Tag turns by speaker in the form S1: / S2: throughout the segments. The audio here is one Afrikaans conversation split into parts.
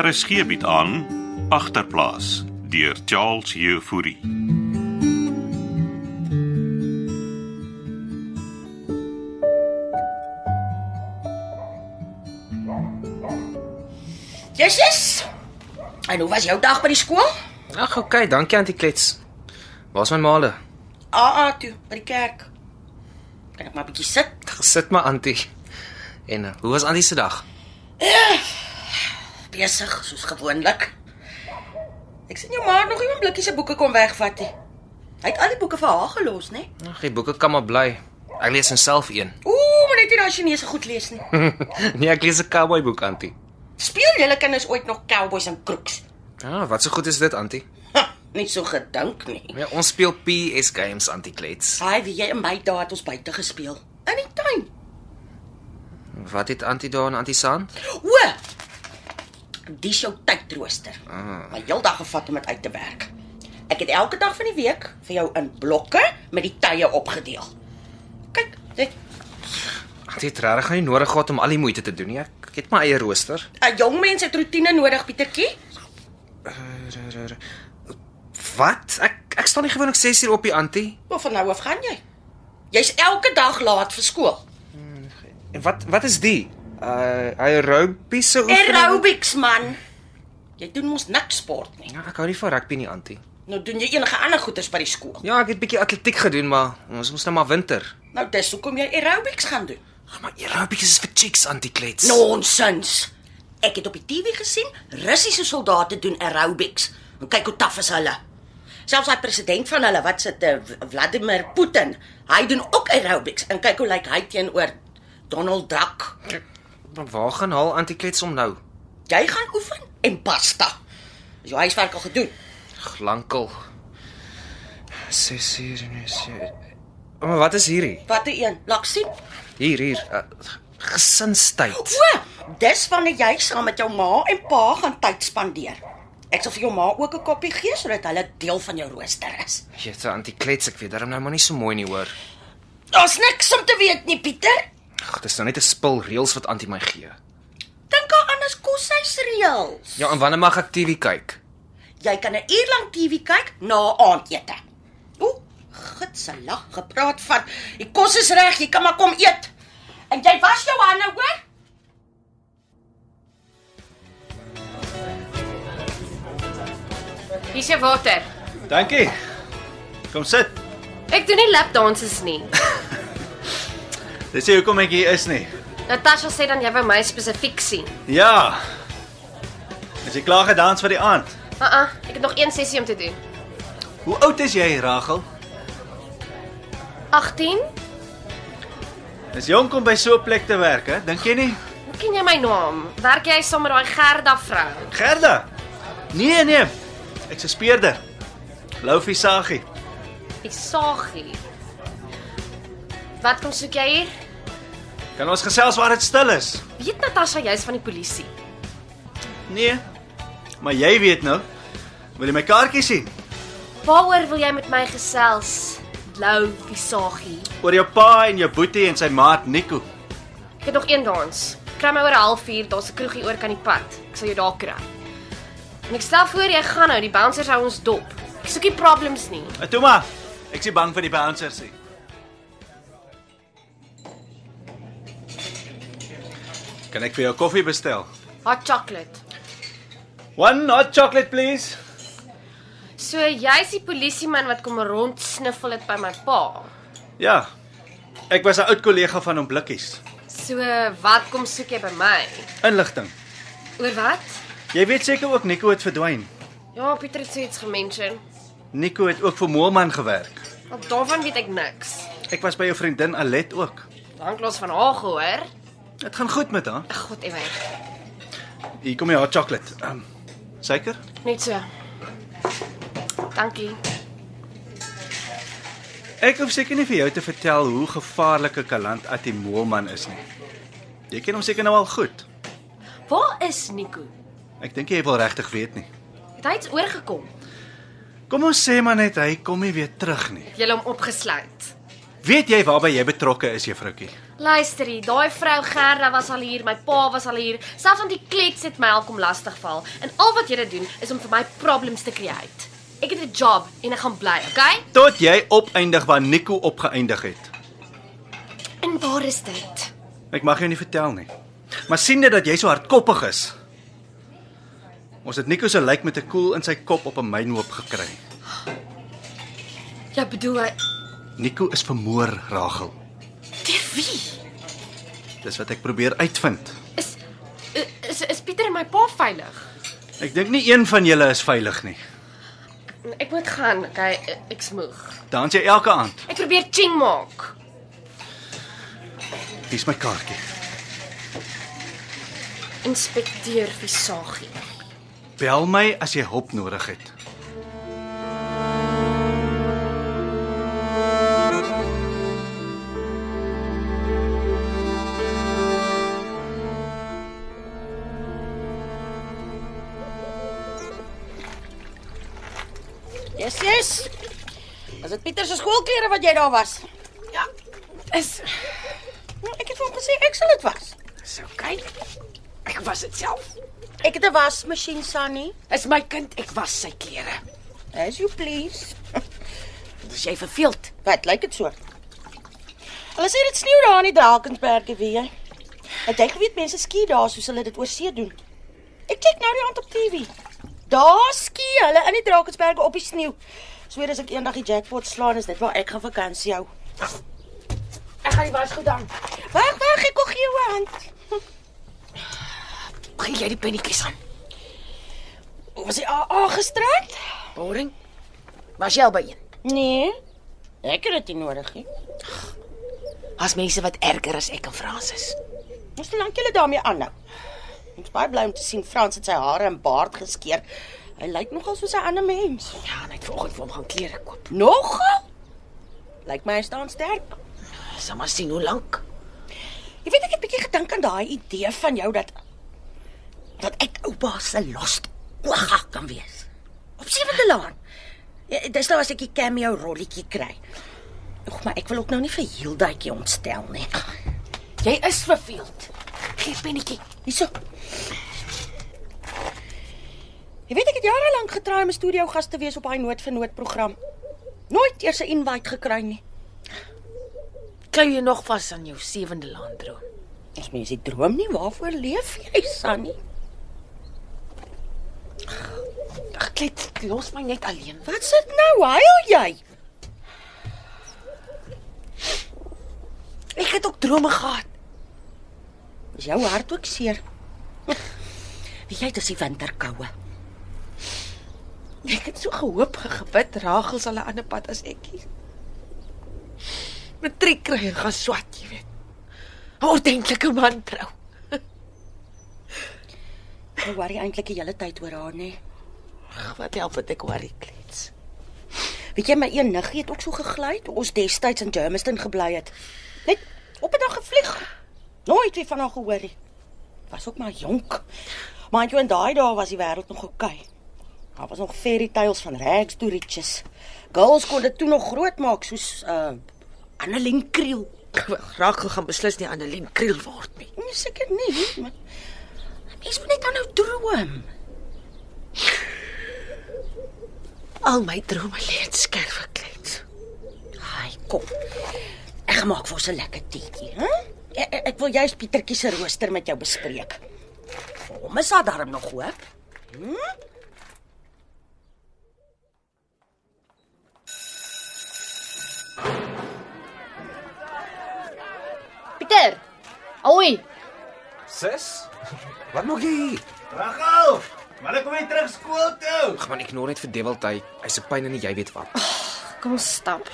S1: RSG bied aan agterplaas deur Charles Jefouri.
S2: Yes, yes. En hoe was jou dag by die skool?
S3: Ag, okay, dankie Antie Klets. Waar's my maale?
S2: AA toe by die kerk. Kan ek maar 'n bietjie sit?
S3: Gesit maar Antie. En eh, hoe was Antie se dag?
S2: Besig soos gewoonlik. Ek sien jou ma het nog nie 'n blikkie se boeke kom wegvat nie. Hy het al die boeke vir haar gelos, né?
S3: Ag, die boeke kan maar bly. Ek lees enself een.
S2: Ooh, maar net nie daai Chinese goed lees nie.
S3: nee, ek lees 'n cowboy boek Antie.
S2: Speel julle kinders ooit nog cowboys en crooks?
S3: Ja, wat so goed is dit Antie?
S2: Ha, nie so gedink nie.
S3: Ja, ons speel PS games Antie Klets.
S2: Saai wie jy in my dae het ons buite gespeel in die tuin.
S3: Wat het Antie daar en Antie San?
S2: O. Dis jou tydrooster. Maar heeldag gevat om dit uit te werk. Ek het elke dag van die week vir jou in blokke met die tye opgedeel. Kyk, dit
S3: Antie het regtig nie nodig gehad om al die moeite te doen nie. Ek het my eie rooster.
S2: 'n eh, jong mens het rotine nodig, Pietertjie.
S3: Wat? Ek ek staan nie gewoonlik 6 uur op die Antie.
S2: Waar van nou af gaan jy? Jy's elke dag laat vir skool.
S3: En wat wat is die? Uh, aerobiese oefening.
S2: Aerobics man. Jy doen mos niks sport nie.
S3: Ja, ek hou nie van rugby nie Antie.
S2: Nou doen jy enige ander goeders by die skool.
S3: Ja, ek het bietjie atletiek gedoen, maar ons moes nou maar winter.
S2: Nou dis hoekom jy aerobics gaan doen.
S3: Ag, maar aerobics is vir chicks antiklets.
S2: Nou. Nonsens. Ek het op die TV gesien Russiese soldate doen aerobics. En kyk hoe taaf is hulle. Selfs hy president van hulle, wat sit eh, Vladimir Putin, hy doen ook aerobics en kyk hoe lyk hy teenoor Donald Duck.
S3: Maar waar gaan haal antiklets om nou?
S2: Jy gaan oefen en basta. Is jou huiswerk al gedoen?
S3: Glankel. 6 uur en is Oh, maar wat is hierdie?
S2: Watter een? Laat ek sien.
S3: Hier, hier. Uh, gesinstyd.
S2: O, dis wanneer jy saam met jou ma en pa gaan tyd spandeer. Ek sal vir jou ma ook 'n koppie gee sodat hulle deel van jou rooster is.
S3: Jette antiklets, ek weet darm nou maar nie so mooi nie hoor.
S2: Daar's niks om te weet nie, Pieter.
S3: Ag, dis nou net 'n spul reëls wat anti my gee.
S2: Dink aan anders koshuisreëls.
S3: Ja, en wanneer mag ek TV kyk?
S2: Jy kan 'n uur lank TV kyk na aandete. Ooh, gitse lag gepraat van. Die kos is reg, jy kan maar kom eet. En jy was jou hande, hoor?
S4: Hier's jou water.
S5: Dankie. Kom sit.
S4: Ek doen nie lapdanses nie.
S5: Dis nie hoekom ek hier is nie.
S4: Natasha sê dan jy wou my spesifiek sien.
S5: Ja. Is jy klaar gedans vir die aand?
S4: Uh uh, ek het nog een sessie om te doen.
S5: Hoe oud is jy, Rachel?
S4: 18?
S5: Dis jonk om by so 'n plek te werk, hè? Dink jy nie?
S4: Hoe ken jy my naam? Werk jy saam met daai Gerda vrou?
S5: Gerda. Nee, nee. Ek's 'n speerder. Loufie Saggie.
S4: Die Sagie. Wat kom soek jy hier?
S5: Kan ons gesels waar dit stil is?
S4: Weet Natasha jy's van die polisie.
S5: Nee. Maar jy weet nou. Wil jy my kaartjie sien?
S4: Waaroor wil jy met my gesels? Lou die Sagie.
S5: Oor jou pa en jou boetie en sy maat Nico.
S4: Ek het nog een dans. Kry my oor 'n halfuur, daar's 'n kroegie oor kan die pad. Ek sal jou daar kry. En ek stel voor jy gaan nou, die bouncers hou ons dop. Ek soek nie problems nie.
S5: Uh, Toe maar. Ek's nie bang vir die bouncers nie. Kan ek vir jou koffie bestel?
S4: Hot chocolate.
S5: One hot chocolate please.
S4: So jy's die polisieman wat kom rondsniffel het by my pa.
S5: Ja. Ek was 'n oud kollega van hom Blikkies.
S4: So wat kom soek jy by my?
S5: Inligting.
S4: Oor wat?
S5: Jy weet seker ook Nico het verdwyn.
S4: Ja, Pieter het so iets gemention.
S5: Nico het ook vir Moelman gewerk.
S4: Maar daarvan weet ek niks.
S5: Ek was by jou vriendin Alet ook.
S4: Hanklaas van haar gehoor.
S5: Dit gaan goed met haar.
S4: Ag god, ewer.
S5: Hier kom jy hot chocolate. Um, Suiker?
S4: Net so. Dankie.
S5: Ek hoef seker nie vir jou te vertel hoe gevaarlike kaland Attie Moelman is nie. Jy ken hom seker nou al goed.
S4: Waar is Nico?
S5: Ek dink jy wil regtig weet nie.
S4: Het hy iets oorgekom?
S5: Kom ons sê maar net hy kom nie weer terug nie.
S4: Het jy hom opgesluit?
S5: Weet jy waarby jy betrokke is, juffroutjie?
S4: Luister hier, daai vrou Gerda was al hier, my pa was al hier. Selfs aan die klets het my al kom lastigval. En al wat jy dit doen is om vir my problems te create. Ek het 'n job en ek gaan bly, okay?
S5: Tot jy opeindig waar Nico opgeëindig het.
S4: En waar is dit?
S5: Ek mag jou nie vertel nie. Maar sien dit dat jy so hardkoppig is. Ons het Nico se lijk met 'n koel in sy kop op 'n mynhoop gekry.
S4: Jy Ja, bedoel eh, hy
S5: Nico is vermoor, Ragel.
S4: deur wie?
S5: Dis wat ek probeer uitvind.
S4: Is eh, is is Pieter en my pa veilig?
S5: Ek dink nie een van julle is veilig nie.
S4: Ek moet gaan, okay? Ek smoeg.
S5: Dans jy elke aand.
S4: Ek probeer ching maak.
S5: Hier's my kaartjie.
S4: Inspekteur Visagie.
S5: Bel my as jy hulp nodig het.
S2: Yes, yes. Was dit Pieter se skoolklere wat jy daar was?
S6: Ja, is
S2: Nou, Ek het vir hom gesê ek sal dit was.
S6: so okay. Ek was dit self.
S2: Ek het 'n wasmasjien, Sunny.
S6: Is my kind, ek was sy klere.
S2: As you please.
S6: Dis jy verveeld.
S2: Wat lyk dit so? Hulle sê dit sneeu daar in die Drakensberge weer. Ek dink weet mense ski daar soos hulle dit oor see doen. Ek kyk nou die aand op TV. Daar ski hulle in die Drakensberge op die sneeu. So as ek eendag die jackpot slaan, is dit waar ek gaan vakansie hou.
S6: Ek gaan die was goed aan.
S2: Wag, wag, ek gou gee jou 'n hand.
S6: Begin jy die pennetjies aan?
S2: Was jy AA gisterand?
S6: Boring. Was jy al by een?
S2: Nee. Ek het dit nie nodig nie.
S6: As mense wat erger as ek en Fransis.
S2: Ons te lank julle daarmee aanhou. Ek is baie bly om te sien Frans het sy hare en baard geskeer. Hy lyk nogal soos 'n ander mens.
S6: Ja, en hy het vanoggend vir hom gaan klere koop.
S2: Nogal? Lyk my hy staan sterk.
S6: Sal maar sien hoe lank.
S2: Jy weet ek het bietjie gedink aan daai idee van jou dat dat ek oupa se lost oog kan wees. Op sewende laan. Ja, Dis nou as ek die cameo rolletjie kry. Oek, maar ek wil ook nou nie vir Hildaatjie ontstel nie.
S6: Jy is verveeld. Gee pennetjie.
S2: Hierso. Jy weet ek het jare lank getraai om 'n studio gas te wees op daai nood vir nood program. Nooit eers 'n invite gekry nie.
S6: Klou jy nog vas aan jou sewende landdroom?
S2: Ons mense die droom nie waarvoor leef jy, Sannie?
S6: Ag, klet, los my net alleen.
S2: Wat sit nou? Huil jy?
S6: Ek het ook drome gehad.
S2: Is jou hart ook seer? Weet jy dis die winterkoue.
S6: Ek het so gehoop gegewid Ragel sal 'n ander pad as ek kies. Matriek kry en gaan swat, jy weet. 'n Ordentlike man trou.
S2: Ek Nou worry eintlik die hele tyd oor haar, nee. nê.
S6: Ag, Wat help dit ek worry klets.
S2: Weet jy my een niggie het ook so gegly toe ons destyds in Germiston gebly het. Net op 'n dag gevlieg. Nooit weer van haar gehoor nie. Was ook maar jonk. Maar jy in daai dae was die wêreld nog oukei. Okay. Daar was nog fairy tales van rags to riches. Girls kon dit toe nog groot maak soos uh Annelien Kriel.
S6: Ragel gaan beslis nie Annelien Kriel word nie.
S2: Nee, seker nie, maar mens moet net aanhou droom.
S6: Al my drome lê in skerwe klets.
S2: Haai, kom. Ek gaan maak vir ons 'n lekker teetjie, hè? Ek, ek, ek wil juist Pietertjie se rooster met jou bespreek. Vir Hom is daar darm nog hoop.
S4: Pieter. Oei,
S3: Sis? Wat maak jy hier?
S5: Ragel, wanneer kom jy terug skool toe?
S3: Gaan man ignore net vir Devilty. Hy's 'n pyn en jy weet wat.
S4: kom ons stap.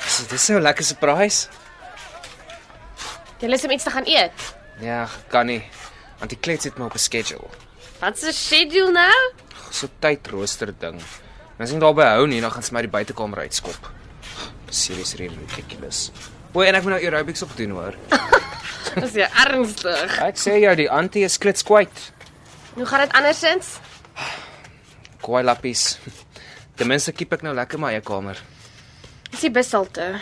S3: So, dis so 'n lekker surprise.
S4: Jy lus om iets te gaan eet.
S3: Ja, kan nie. Want die klets het my op 'n schedule.
S4: Wat se schedule nou?
S3: So tydrooster ding. En as ek nie daarby hou nie, dan gaan sy my die buitekamer uitskop. Serious really ridiculous. O, en ek moet nou aerobics op doen hoor.
S4: Is jy ernstig?
S3: Ek sê jou die antie is klits kwyt.
S4: Hoe gaan dit andersins?
S3: Kwaai lappies. Ten minste keep ek nou lekker my eie kamer.
S4: Is die bus al toe?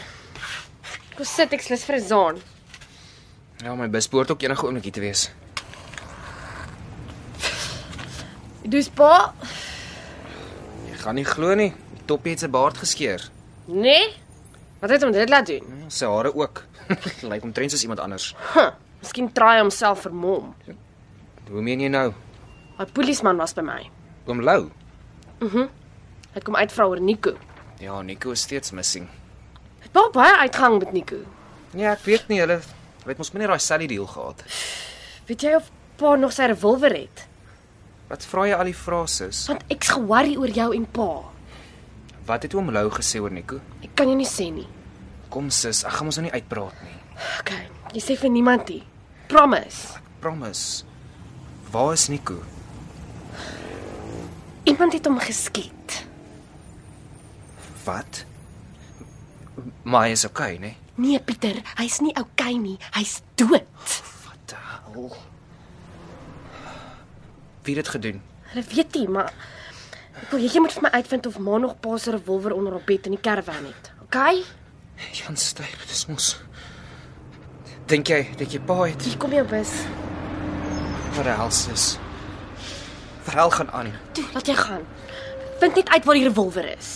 S4: Kom sit ek slus vir 'n zon.
S3: Ja, my bus behoort ook enige oomblik hier te wees.
S4: Dis pa?
S3: Jy gaan nie glo nie. Die toppie het sy baard geskeur.
S4: Nee. Wat het hom dit laat doen?
S3: Ja, Sy hare ook. Lyk omtrent soos iemand anders.
S4: Huh, miskien traai hy homself vermom.
S3: Hoe meen jy nou?
S4: Daai polisieman was by my.
S3: Kom Lou.
S4: Hy het kom uitvra oor Nico.
S3: Ja, Nico is steeds missing.
S4: Het pa baie uitgang met Nico.
S3: Nee, ek weet nie hulle weet mos minder daai Sally deal gehad.
S4: Weet jy of pa nog sy revolver het?
S3: Wat vra jy al die vrae sis?
S4: Want ek's ge-worry oor jou en pa.
S3: Wat het oom Lou gesê oor Nico?
S4: Ek kan jou nie sê nie.
S3: Kom sis, ek gaan mos nou nie uitpraat nie.
S4: OK, jy sê vir niemand nie. Promise.
S3: Promise. Waar is Nico?
S4: Iemand het hom geskiet.
S3: Wat? M- Maar hy is okay, né? Nee?
S4: Nee, Pieter, hy's nie okay nie. Hy's dood.
S3: Wat die hel? Wie het dit gedoen?
S4: Hulle weet nie, maar ek wil hê jy moet vir my uitvind of ma nog pa se revolver onder haar bed in die karavaan het. OK?
S3: Jan Styp, dis mos. Dink jy, dink jy pa het
S4: Hier kom jou bus.
S3: wat die hel sis? Verhaal gaan aan.
S4: Toe, laat jy gaan. Vind net uit waar die revolver is.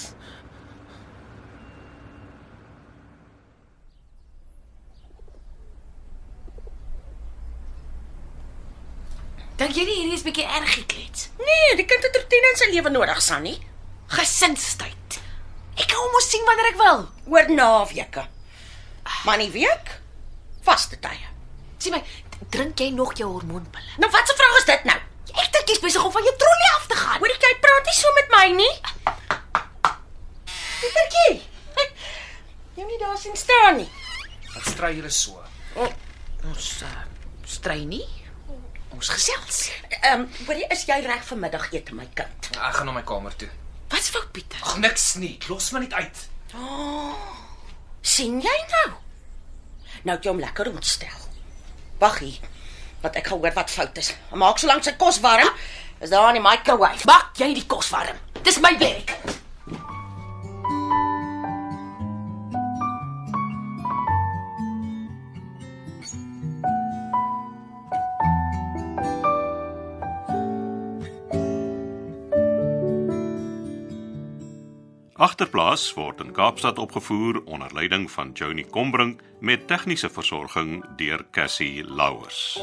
S6: Dink jy nie hierdie is bietjie erg geklets?
S2: Nee, die kind het rotine in sy lewe nodig, Sunny.
S6: Gesinstyd. Ek kan hom mos sien wanneer ek wil.
S2: Oor naweke. Maar nie week vaste tye.
S6: Sien my, d- drink jy nog jou hormoonpille?
S2: Nou wat 'n vraag is dit nou?
S6: Ek dink jy's besig om van jou trollie af te gaan.
S2: Hoorie, jy praat nie so met my nie. Pietertjie. Jy moet nie daar sien staan nie.
S3: Wat stry julle so?
S6: Ons uh, strei nie. Ons gesels.
S2: Ehm, um, hoorie, is jy reg vir middagete, my kind?
S3: Ek gaan na my kamer toe.
S6: Wat's fout, Pieter?
S3: Ag niks nie. Los my net uit.
S2: sien jy nou? Nou het jy hom lekker ontstel. Wag hier. Want ek gaan hoor wat fout is. Maak solank sy kos warm. Is daar in die microwave.
S6: Maak jy die kos warm. Dis my werk.
S1: Agterplaas word in Kaapstad opgevoer onder leiding van Johnny Combrink met tegniese versorging deur Cassie Louws.